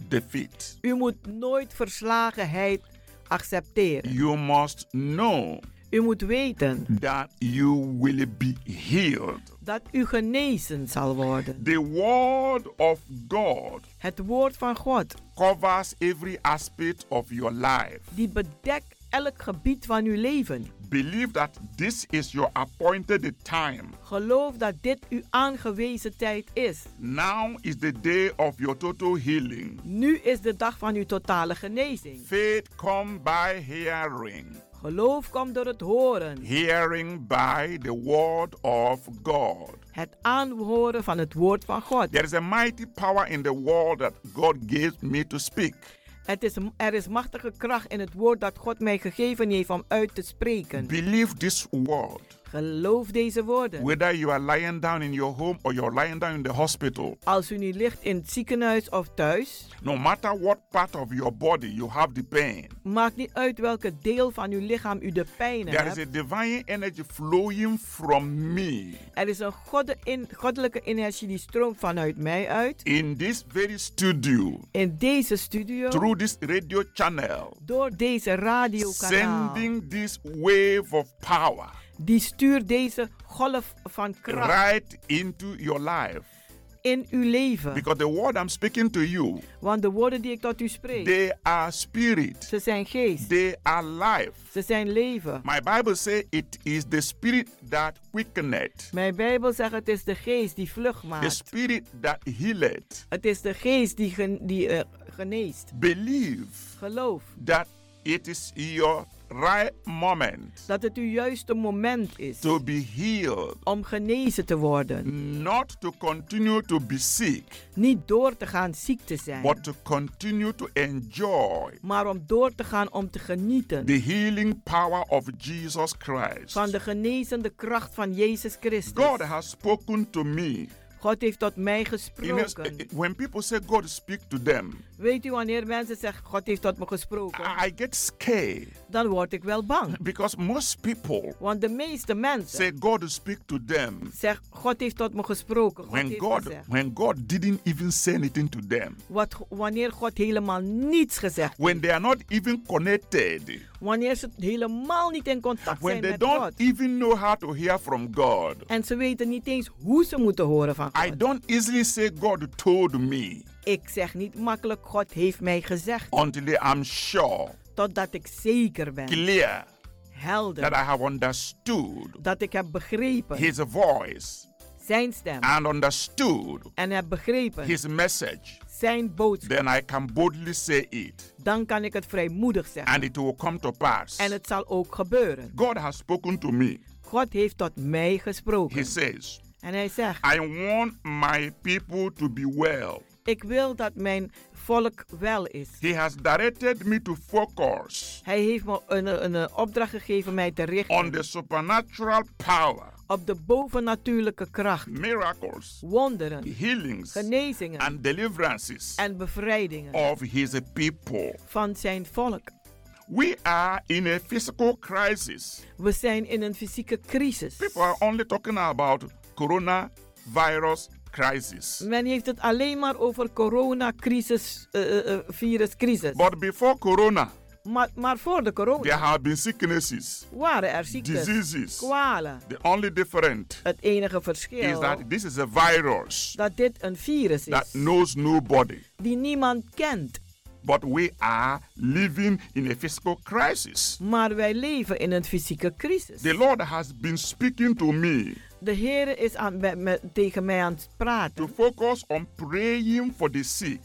defeat. U moet nooit verslagenheid accepteren. You must know U moet weten that you will be healed. dat u genezen zal worden. The Word of God Het woord van God, covers every aspect of your life. die bedekt elk gebied van uw leven. Believe that this is your appointed time. Geloof dat dit uw aangewezen tijd is. Now is the day of your total healing. Nu is de dag van uw totale genezing. Faith come by hearing, Geloof komt door het horen. hearing by the word of God. Het aanhoren van het woord van God. There is a mighty power in the word that God gave me to speak. Het is, er is machtige kracht in het woord dat God mij gegeven heeft om uit te spreken. Believe this word. Geloof deze woorden. Whether you are lying down in your home or you're lying down in the hospital, Als u nu ligt in het ziekenhuis of thuis, no matter what part of your body you have the pain, maakt niet uit welke deel van uw lichaam u de pijn there is hebt. a divine energy flowing from me. Er is een godde- in- goddelijke energie die stroomt vanuit mij uit. In this very studio, In deze studio, through this radio channel, door deze radiokanaal. sending this wave of power Die stuurt deze golf van kracht right into your life. in uw leven. Because the word I'm speaking to you, Want de woorden die ik tot u spreek, they are spirit, ze zijn geest, they are life. ze zijn leven. My Bible says it is the spirit that quickeneth, Mijn Bijbel zegt het is de geest die vlug the maakt. spirit that healeth. Het is de geest die, gen- die eh, geneest. Believe Geloof that it is your right moment dat het uw juiste moment is to be healed, om genezen te worden. not to continue to be sick, Niet door te gaan ziek te zijn, but to continue to enjoy maar om door te gaan om te genieten the healing power of Jesus Christ. van de genezende kracht van Jezus God Christus. has spoken to me. God heeft tot mij In his- gesproken. when people say God speak to them, Weet u, wanneer mensen zeggen, God heeft tot me gesproken, I get scared dan word ik wel bang. because most people Want de meeste mensen say God speak to them zeggen, God heeft tot me gesproken. God when heeft God gezegd. when God didn't even say anything to them. Wat, wanneer God helemaal niets gezegd When they are not even connected, Wanneer ze helemaal niet in contact when zijn they met don't God. even know how to hear from God. En ze weten niet eens hoe ze moeten horen van I God. don't easily say God told me Ik zeg niet makkelijk, God heeft mij gezegd. until I'm sure, Totdat ik zeker ben, clear that I helder, have understood dat ik heb begrepen His voice zijn stem. and understood En heb begrepen His message. zijn boodschap. Then I can boldly say it, Dan kan ik het vrijmoedig zeggen. and it will come to pass. En het zal ook gebeuren. God has spoken to me. God heeft tot mij He gesproken. says, En hij zegt, I want my people to be well. ik wil dat mijn volk wel is. He has directed me to focus Hij heeft me een, een, een opdracht gegeven mij te on richten the supernatural power, op de bovennatuurlijke kracht, miracles, wonderen, healings, genezingen and deliverances en bevrijdingen of His people. van zijn volk. We are in a physical crisis. We zijn in een fysieke crisis. People are only talking about coronavirus crisis. Men heeft het alleen maar over coronacrisis, eh eh, eh, viruscrisis. But before corona, Maar, maar voor de there corona have been sicknesses, waren er ziektes, diseases. kwalen. The only difference Het enige is verschil that this is a virus dat dit een virus that is knows nobody. die niemand kent. But we are living in a physical crisis. Maar wij leven in een fysieke crisis. The Lord has been speaking to me De Heer is aan, met, met- tegen mij aan het to praten, focus on praying for the sick,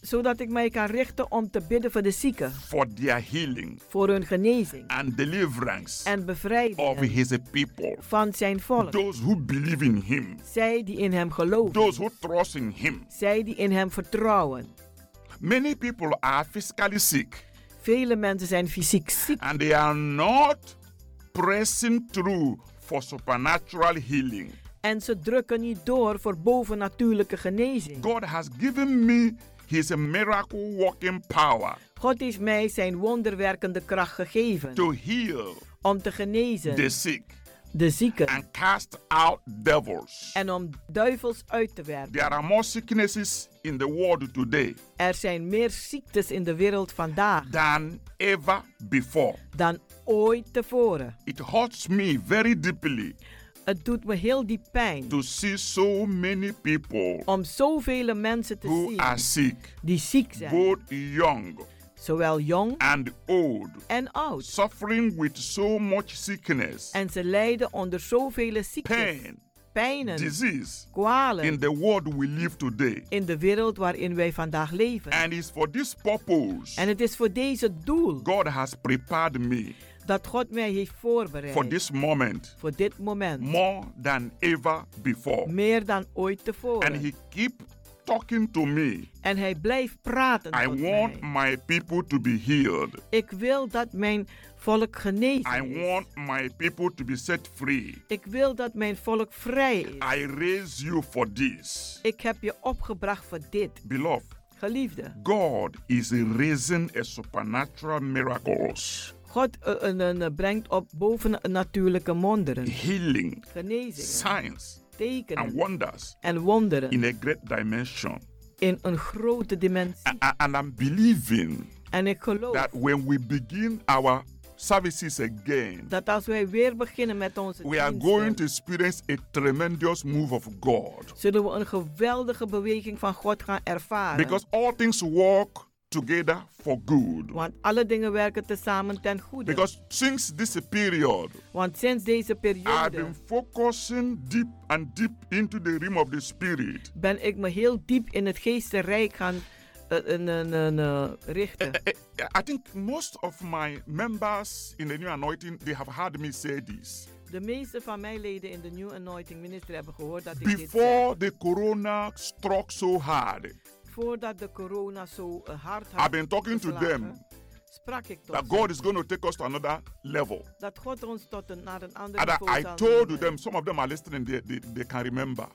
zodat ik mij kan richten om te bidden voor de zieken, for their healing voor hun genezing and deliverance en of bevrijding His people. van zijn volk. Those who believe in Him, Zij die in hem geloven, those who trust in Him. zij die in hem vertrouwen. Many people are physically sick Vele mensen zijn fysiek ziek and they are not pressing through for supernatural healing. en ze drukken niet door voor bovennatuurlijke genezing. God has given me His miracle working power God heeft mij zijn wonderwerkende kracht gegeven to heal om te the genezen, sick de zieken, and cast out devils. en om duivels uit te werken. There are more sicknesses in the world today Er zijn meer ziektes in de wereld vandaag than ever before. dan ooit tevoren. It hurts me very deeply Het doet me heel diep pijn to see so many people om zoveel mensen te who are zien sick, die ziek zijn, both young zowel jong and old, en oud. suffering with so much sickness, En ze lijden onder zoveel ziektes, pain, pijnen, disease in kwalen the world we live today. in de wereld waarin wij vandaag leven. And it's for this purpose En het is voor deze doel God has prepared me dat God mij heeft for voorbereid this moment voor dit moment, more than ever before. meer dan ooit And tevoren. He keep talking to me. En hij blijft praten I tot want mij. my people to be healed. Ik wil dat mijn volk I genezen is. want my people to be set free. Ik wil dat mijn volk vrij is. I raise you for this. Ik heb je opgebracht voor dit, Beloved, geliefde. God is raising a supernatural miracles, God eh, eh, eh, eh, brengt op bovennatuurlijke wonderen, healing, genezingen, signs, and tekenen wonders en wonderen in a great dimension. in een grote dimensie. A- a- And I'm believing En ik geloof that when we begin our services again, dat als wij weer beginnen met onze we are going to diensten, experience a tremendous move of God. zullen we een geweldige beweging van God gaan ervaren. Because all things work together for good. Want alle dingen werken tezamen ten goede. Because since this period, Want sinds deze I've periode been focusing deep and deep into the realm of the spirit. ben ik me heel diep in het geestenrijk gaan eh, een, een, een, eh, richten. eh, I think most of my members in the new anointing, they have heard me say this. De meeste van mijn leden in de New Anointing Ministry hebben gehoord dat ik dit Before the corona struck so hard, zei. Voordat de corona zo eh, hard had I've been talking to geslagen, them sprak ik tot that ze. God is going to take us to another level. dat God ons tot een, naar een andere And I, niveau I zal told nemen. them, some of them are listening, they, they, they can remember.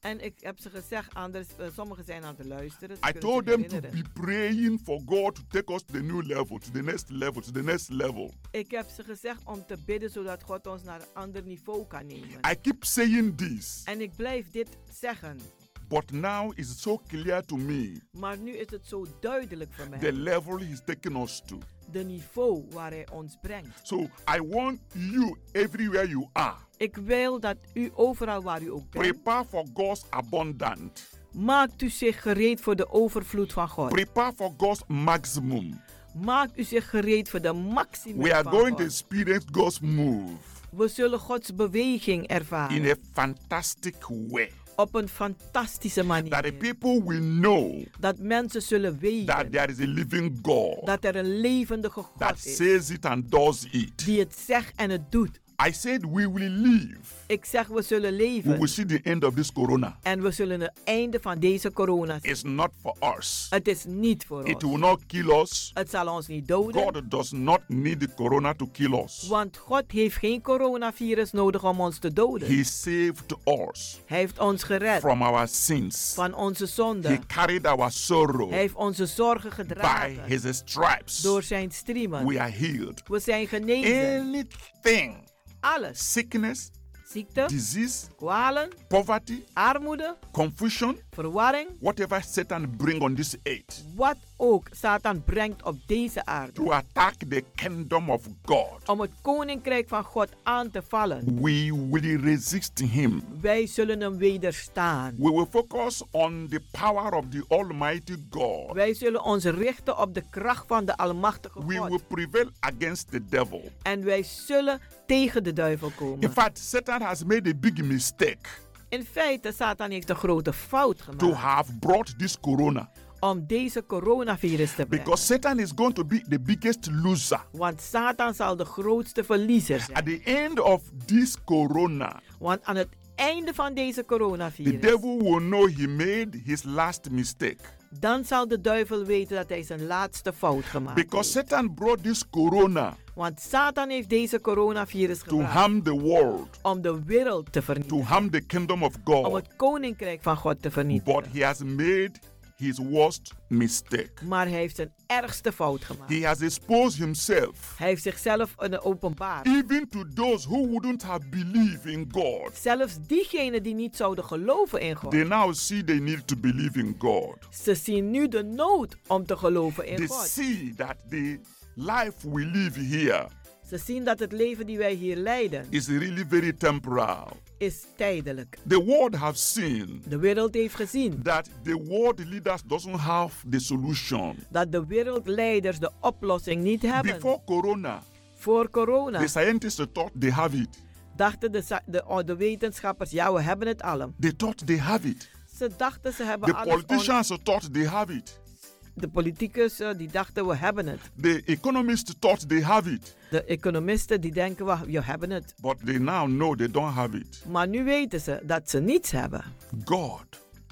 En ik heb ze gezegd, anders, eh, sommigen zijn aan het luisteren. ze I kunnen told zich them to herinneren. be praying for God to take us to the new level, to the next level, to the next level. Ik heb ze gezegd om te bidden zodat God ons naar een ander niveau kan nemen. I keep saying this, En ik blijf dit zeggen, but now it's so clear to me maar nu is het zo duidelijk voor mij. the level He's taking us to. de niveau waar hij ons brengt. So I want you, everywhere you are, Ik wil dat u overal waar u ook bent, prepare for God's abundant. maakt u zich gereed voor de overvloed van God. Prepare for God's maximum. Maakt u zich gereed voor de maximum We are van going God. to experience God's move We zullen Gods beweging ervaren in a fantastic way. op een fantastische manier. That the people will know dat mensen zullen weten that there is a living God dat er een levendige God that is says it and does it. die het zegt en het doet. I said we will live. Ik zeg, we zullen We leven will see the end of this corona. en we zullen het einde van deze corona zien. It's not for us. Het is niet voor It ons. will not kill us. Het zal ons niet doden. God does not need the corona to kill us. Want God heeft geen coronavirus nodig om ons te doden. He saved us Hij heeft ons gered from our sins. van onze He zonden. carried our sorrow Hij heeft onze zorgen by gedragen his stripes. door zijn striemen. We are healed. We zijn genezen. Anything, Alles. sickness, Ziekte, disease, kwalen, poverty, armoede, confusion, verwarring. whatever Satan bring on this earth Wat ook Satan brengt op deze aarde. to attack the kingdom of God, Om het koninkrijk van God aan te vallen. we will resist him. Wij zullen hem wederstaan. We will focus on the power of the Almighty God. Wij zullen ons richten op de kracht van de Almachtige We will God. prevail against the devil. En wij zullen tegen de duivel In komen. fact, Satan has made a big mistake In feite, Satan heeft een grote fout to gemaakt have brought this corona om deze coronavirus te brengen. because Satan is going to be the biggest loser. Want Satan zal de grootste verliezer At zijn. the end of this corona, Want aan het einde van deze the coronavirus, devil will know he made his last mistake dan zal de duivel weten dat hij zijn laatste fout gemaakt because heeft. Satan brought this corona Want Satan heeft deze coronavirus to gebruikt harm the world, om de wereld te to vernietigen. harm the kingdom of Om God. het koninkrijk van God te But vernietigen. he has made his worst mistake. Maar hij heeft zijn ergste fout gemaakt. He has exposed himself Hij heeft zichzelf een openbaar. even to those who wouldn't have believed in God. Zelfs diegenen die niet zouden geloven in God. They now see they need to believe in God. Ze zien nu de nood om te geloven in They God. see that the life we live here Ze zien dat het leven die wij hier leiden is really very temporal. is tijdelijk. The world have seen De wereld heeft gezien that the world leaders doesn't have the solution. dat de wereldleiders de oplossing niet hebben. Before corona, Voor corona the scientists thought they have it. dachten de, sa- de, oh, de wetenschappers, ja we hebben het al. They thought they have it. Ze dachten ze hebben The alles. on- politicians thought they have it. De politicus eh, die dachten we hebben het. The economists thought they have it. De economisten die denken we we hebben het. But they now know they don't have it. Maar nu weten ze dat ze niets hebben. God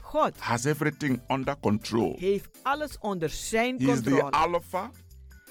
God has everything under control. heeft alles onder zijn He is the controle. Alpha,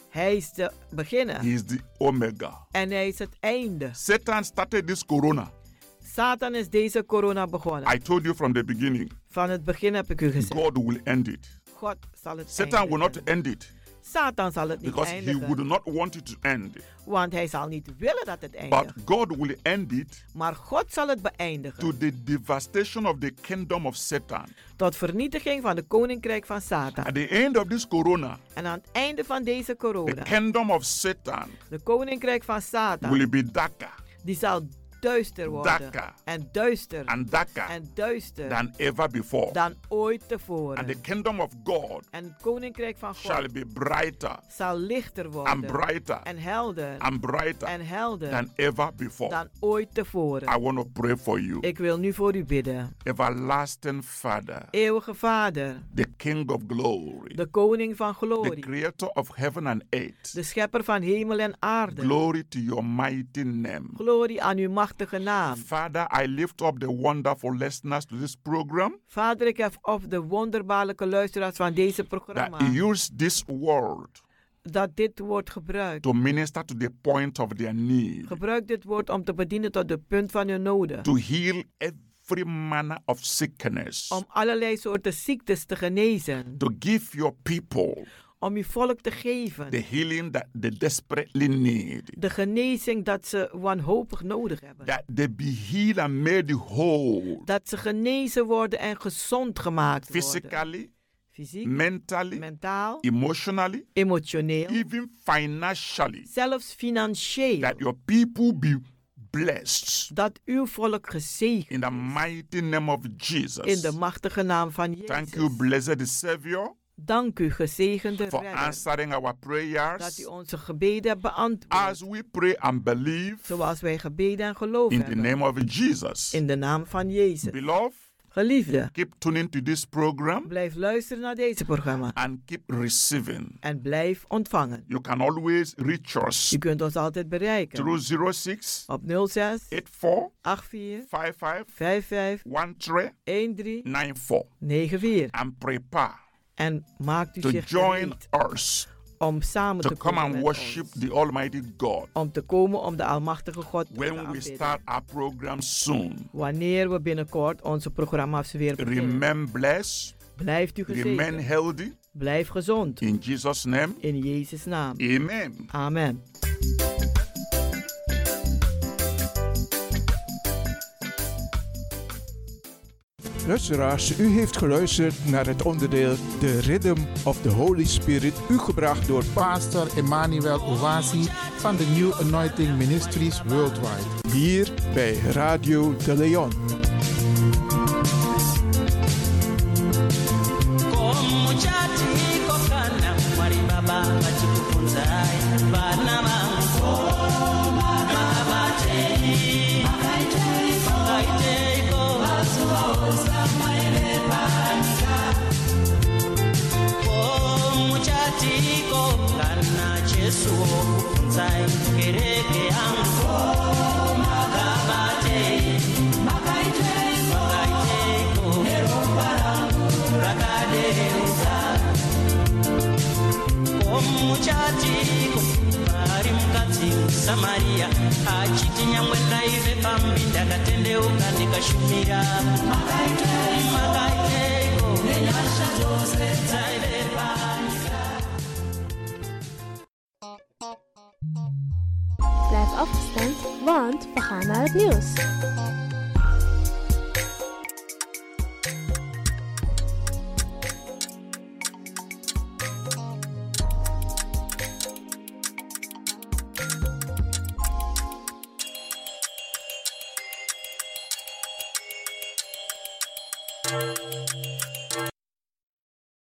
Hij is de beginnen He is the Omega. en hij is het einde. Satan started this corona. Satan is deze corona begonnen. I told you from the beginning, Van het begin heb ik u gezegd. God will end it. God zal het Satan will not eindigen. end it Satan zal het niet because he eindigen. would not want it uh-huh. to end. Want hij zal niet willen dat het eindigt. But God will end it Maar God zal het beëindigen. to the devastation of the kingdom of Satan. Tot vernietiging van de koninkrijk van Satan. At the end of this corona, En aan het einde van deze the corona. kingdom of Satan De koninkrijk van Satan. will be darker Die zal duister worden. Darker. En duister. and darker En duister. than ever before. dan ooit tevoren. And the kingdom of God en het koninkrijk van God shall be brighter zal lichter worden. and brighter en helder. and brighter en helder. than ever before. dan ooit tevoren. I want to pray for you. Ik wil nu voor u bidden. Everlasting Father, Eeuwige Vader, the King of glory, de koning van the glorie, creator of heaven and earth, de schepper van hemel en aarde. glory to your mighty name. Glorie aan uw machtige naam. Father, I lift up the wonderful listeners to this program Vader, ik heb op de wonderbaarlijke luisteraars van deze that programma use this word dat dit woord gebruikt. to minister to the point of their need, Gebruik dit woord om te bedienen tot de punt van uw noden. to heal every manner of sickness, Om allerlei soorten ziektes te genezen. to give your people Om uw volk te geven. the healing that they desperately need, De genezing dat ze wanhopig nodig hebben. that they be healed and made whole Dat ze genezen worden en gezond gemaakt worden. physically, Fysiek, mentally, mentaal, emotionally, emotioneel, even financially, zelfs financieel. that your people be blessed Dat uw volk gezegend in the mighty name of Jesus. in de machtige naam van Thank you, Jezus. blessed Savior, Dank u, gezegende for redder, answering our dat u prayers onze gebeden beantwoordt. as we pray and believe Zoals wij gebeden en geloof in the hebben. name of Jesus. In de naam van Jezus. Beloved, Geliefde, keep tuning to this program blijf luisteren naar deze programma and keep receiving. en blijf ontvangen. You can always reach us U kunt ons altijd bereiken through 06 op 06 84 84 55 55 13 13 94 94. and prepare En maakt u to zich join gereed us om samen to te come komen and met worship ons. the Almighty God Om te komen om de Almachtige God te when we aanbidden. start our program soon. Wanneer we binnenkort onze programma's weer beginnen. Remain blessed, Blijft u remain gezegend. healthy Blijf gezond. in Jesus' name. In Jezus' naam. Amen. Amen. Luisteraars, u heeft geluisterd naar het onderdeel The Rhythm of the Holy Spirit, u gebracht door Pastor Emmanuel Owasi van de New Anointing Ministries Worldwide. hier bij Radio de Leon. Blijf afgestemd, want we gaan naar het nieuws.